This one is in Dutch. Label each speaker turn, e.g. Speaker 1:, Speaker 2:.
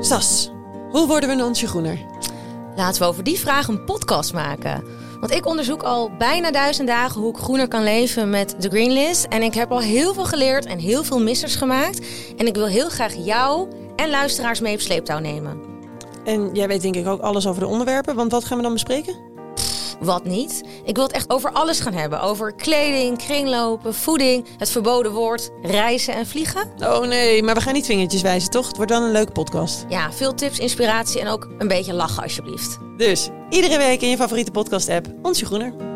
Speaker 1: Sas, hoe worden we een onsje groener?
Speaker 2: Laten we over die vraag een podcast maken. Want ik onderzoek al bijna duizend dagen hoe ik groener kan leven met de Greenlist. En ik heb al heel veel geleerd en heel veel missers gemaakt. En ik wil heel graag jou en luisteraars mee op sleeptouw nemen.
Speaker 1: En jij weet denk ik ook alles over de onderwerpen, want wat gaan we dan bespreken?
Speaker 2: Wat niet? Ik wil het echt over alles gaan hebben. Over kleding, kringlopen, voeding, het verboden woord, reizen en vliegen.
Speaker 1: Oh nee, maar we gaan niet vingertjes wijzen, toch? Het wordt dan een leuke podcast.
Speaker 2: Ja, veel tips, inspiratie en ook een beetje lachen alsjeblieft.
Speaker 1: Dus, iedere week in je favoriete podcast-app, onsje groener.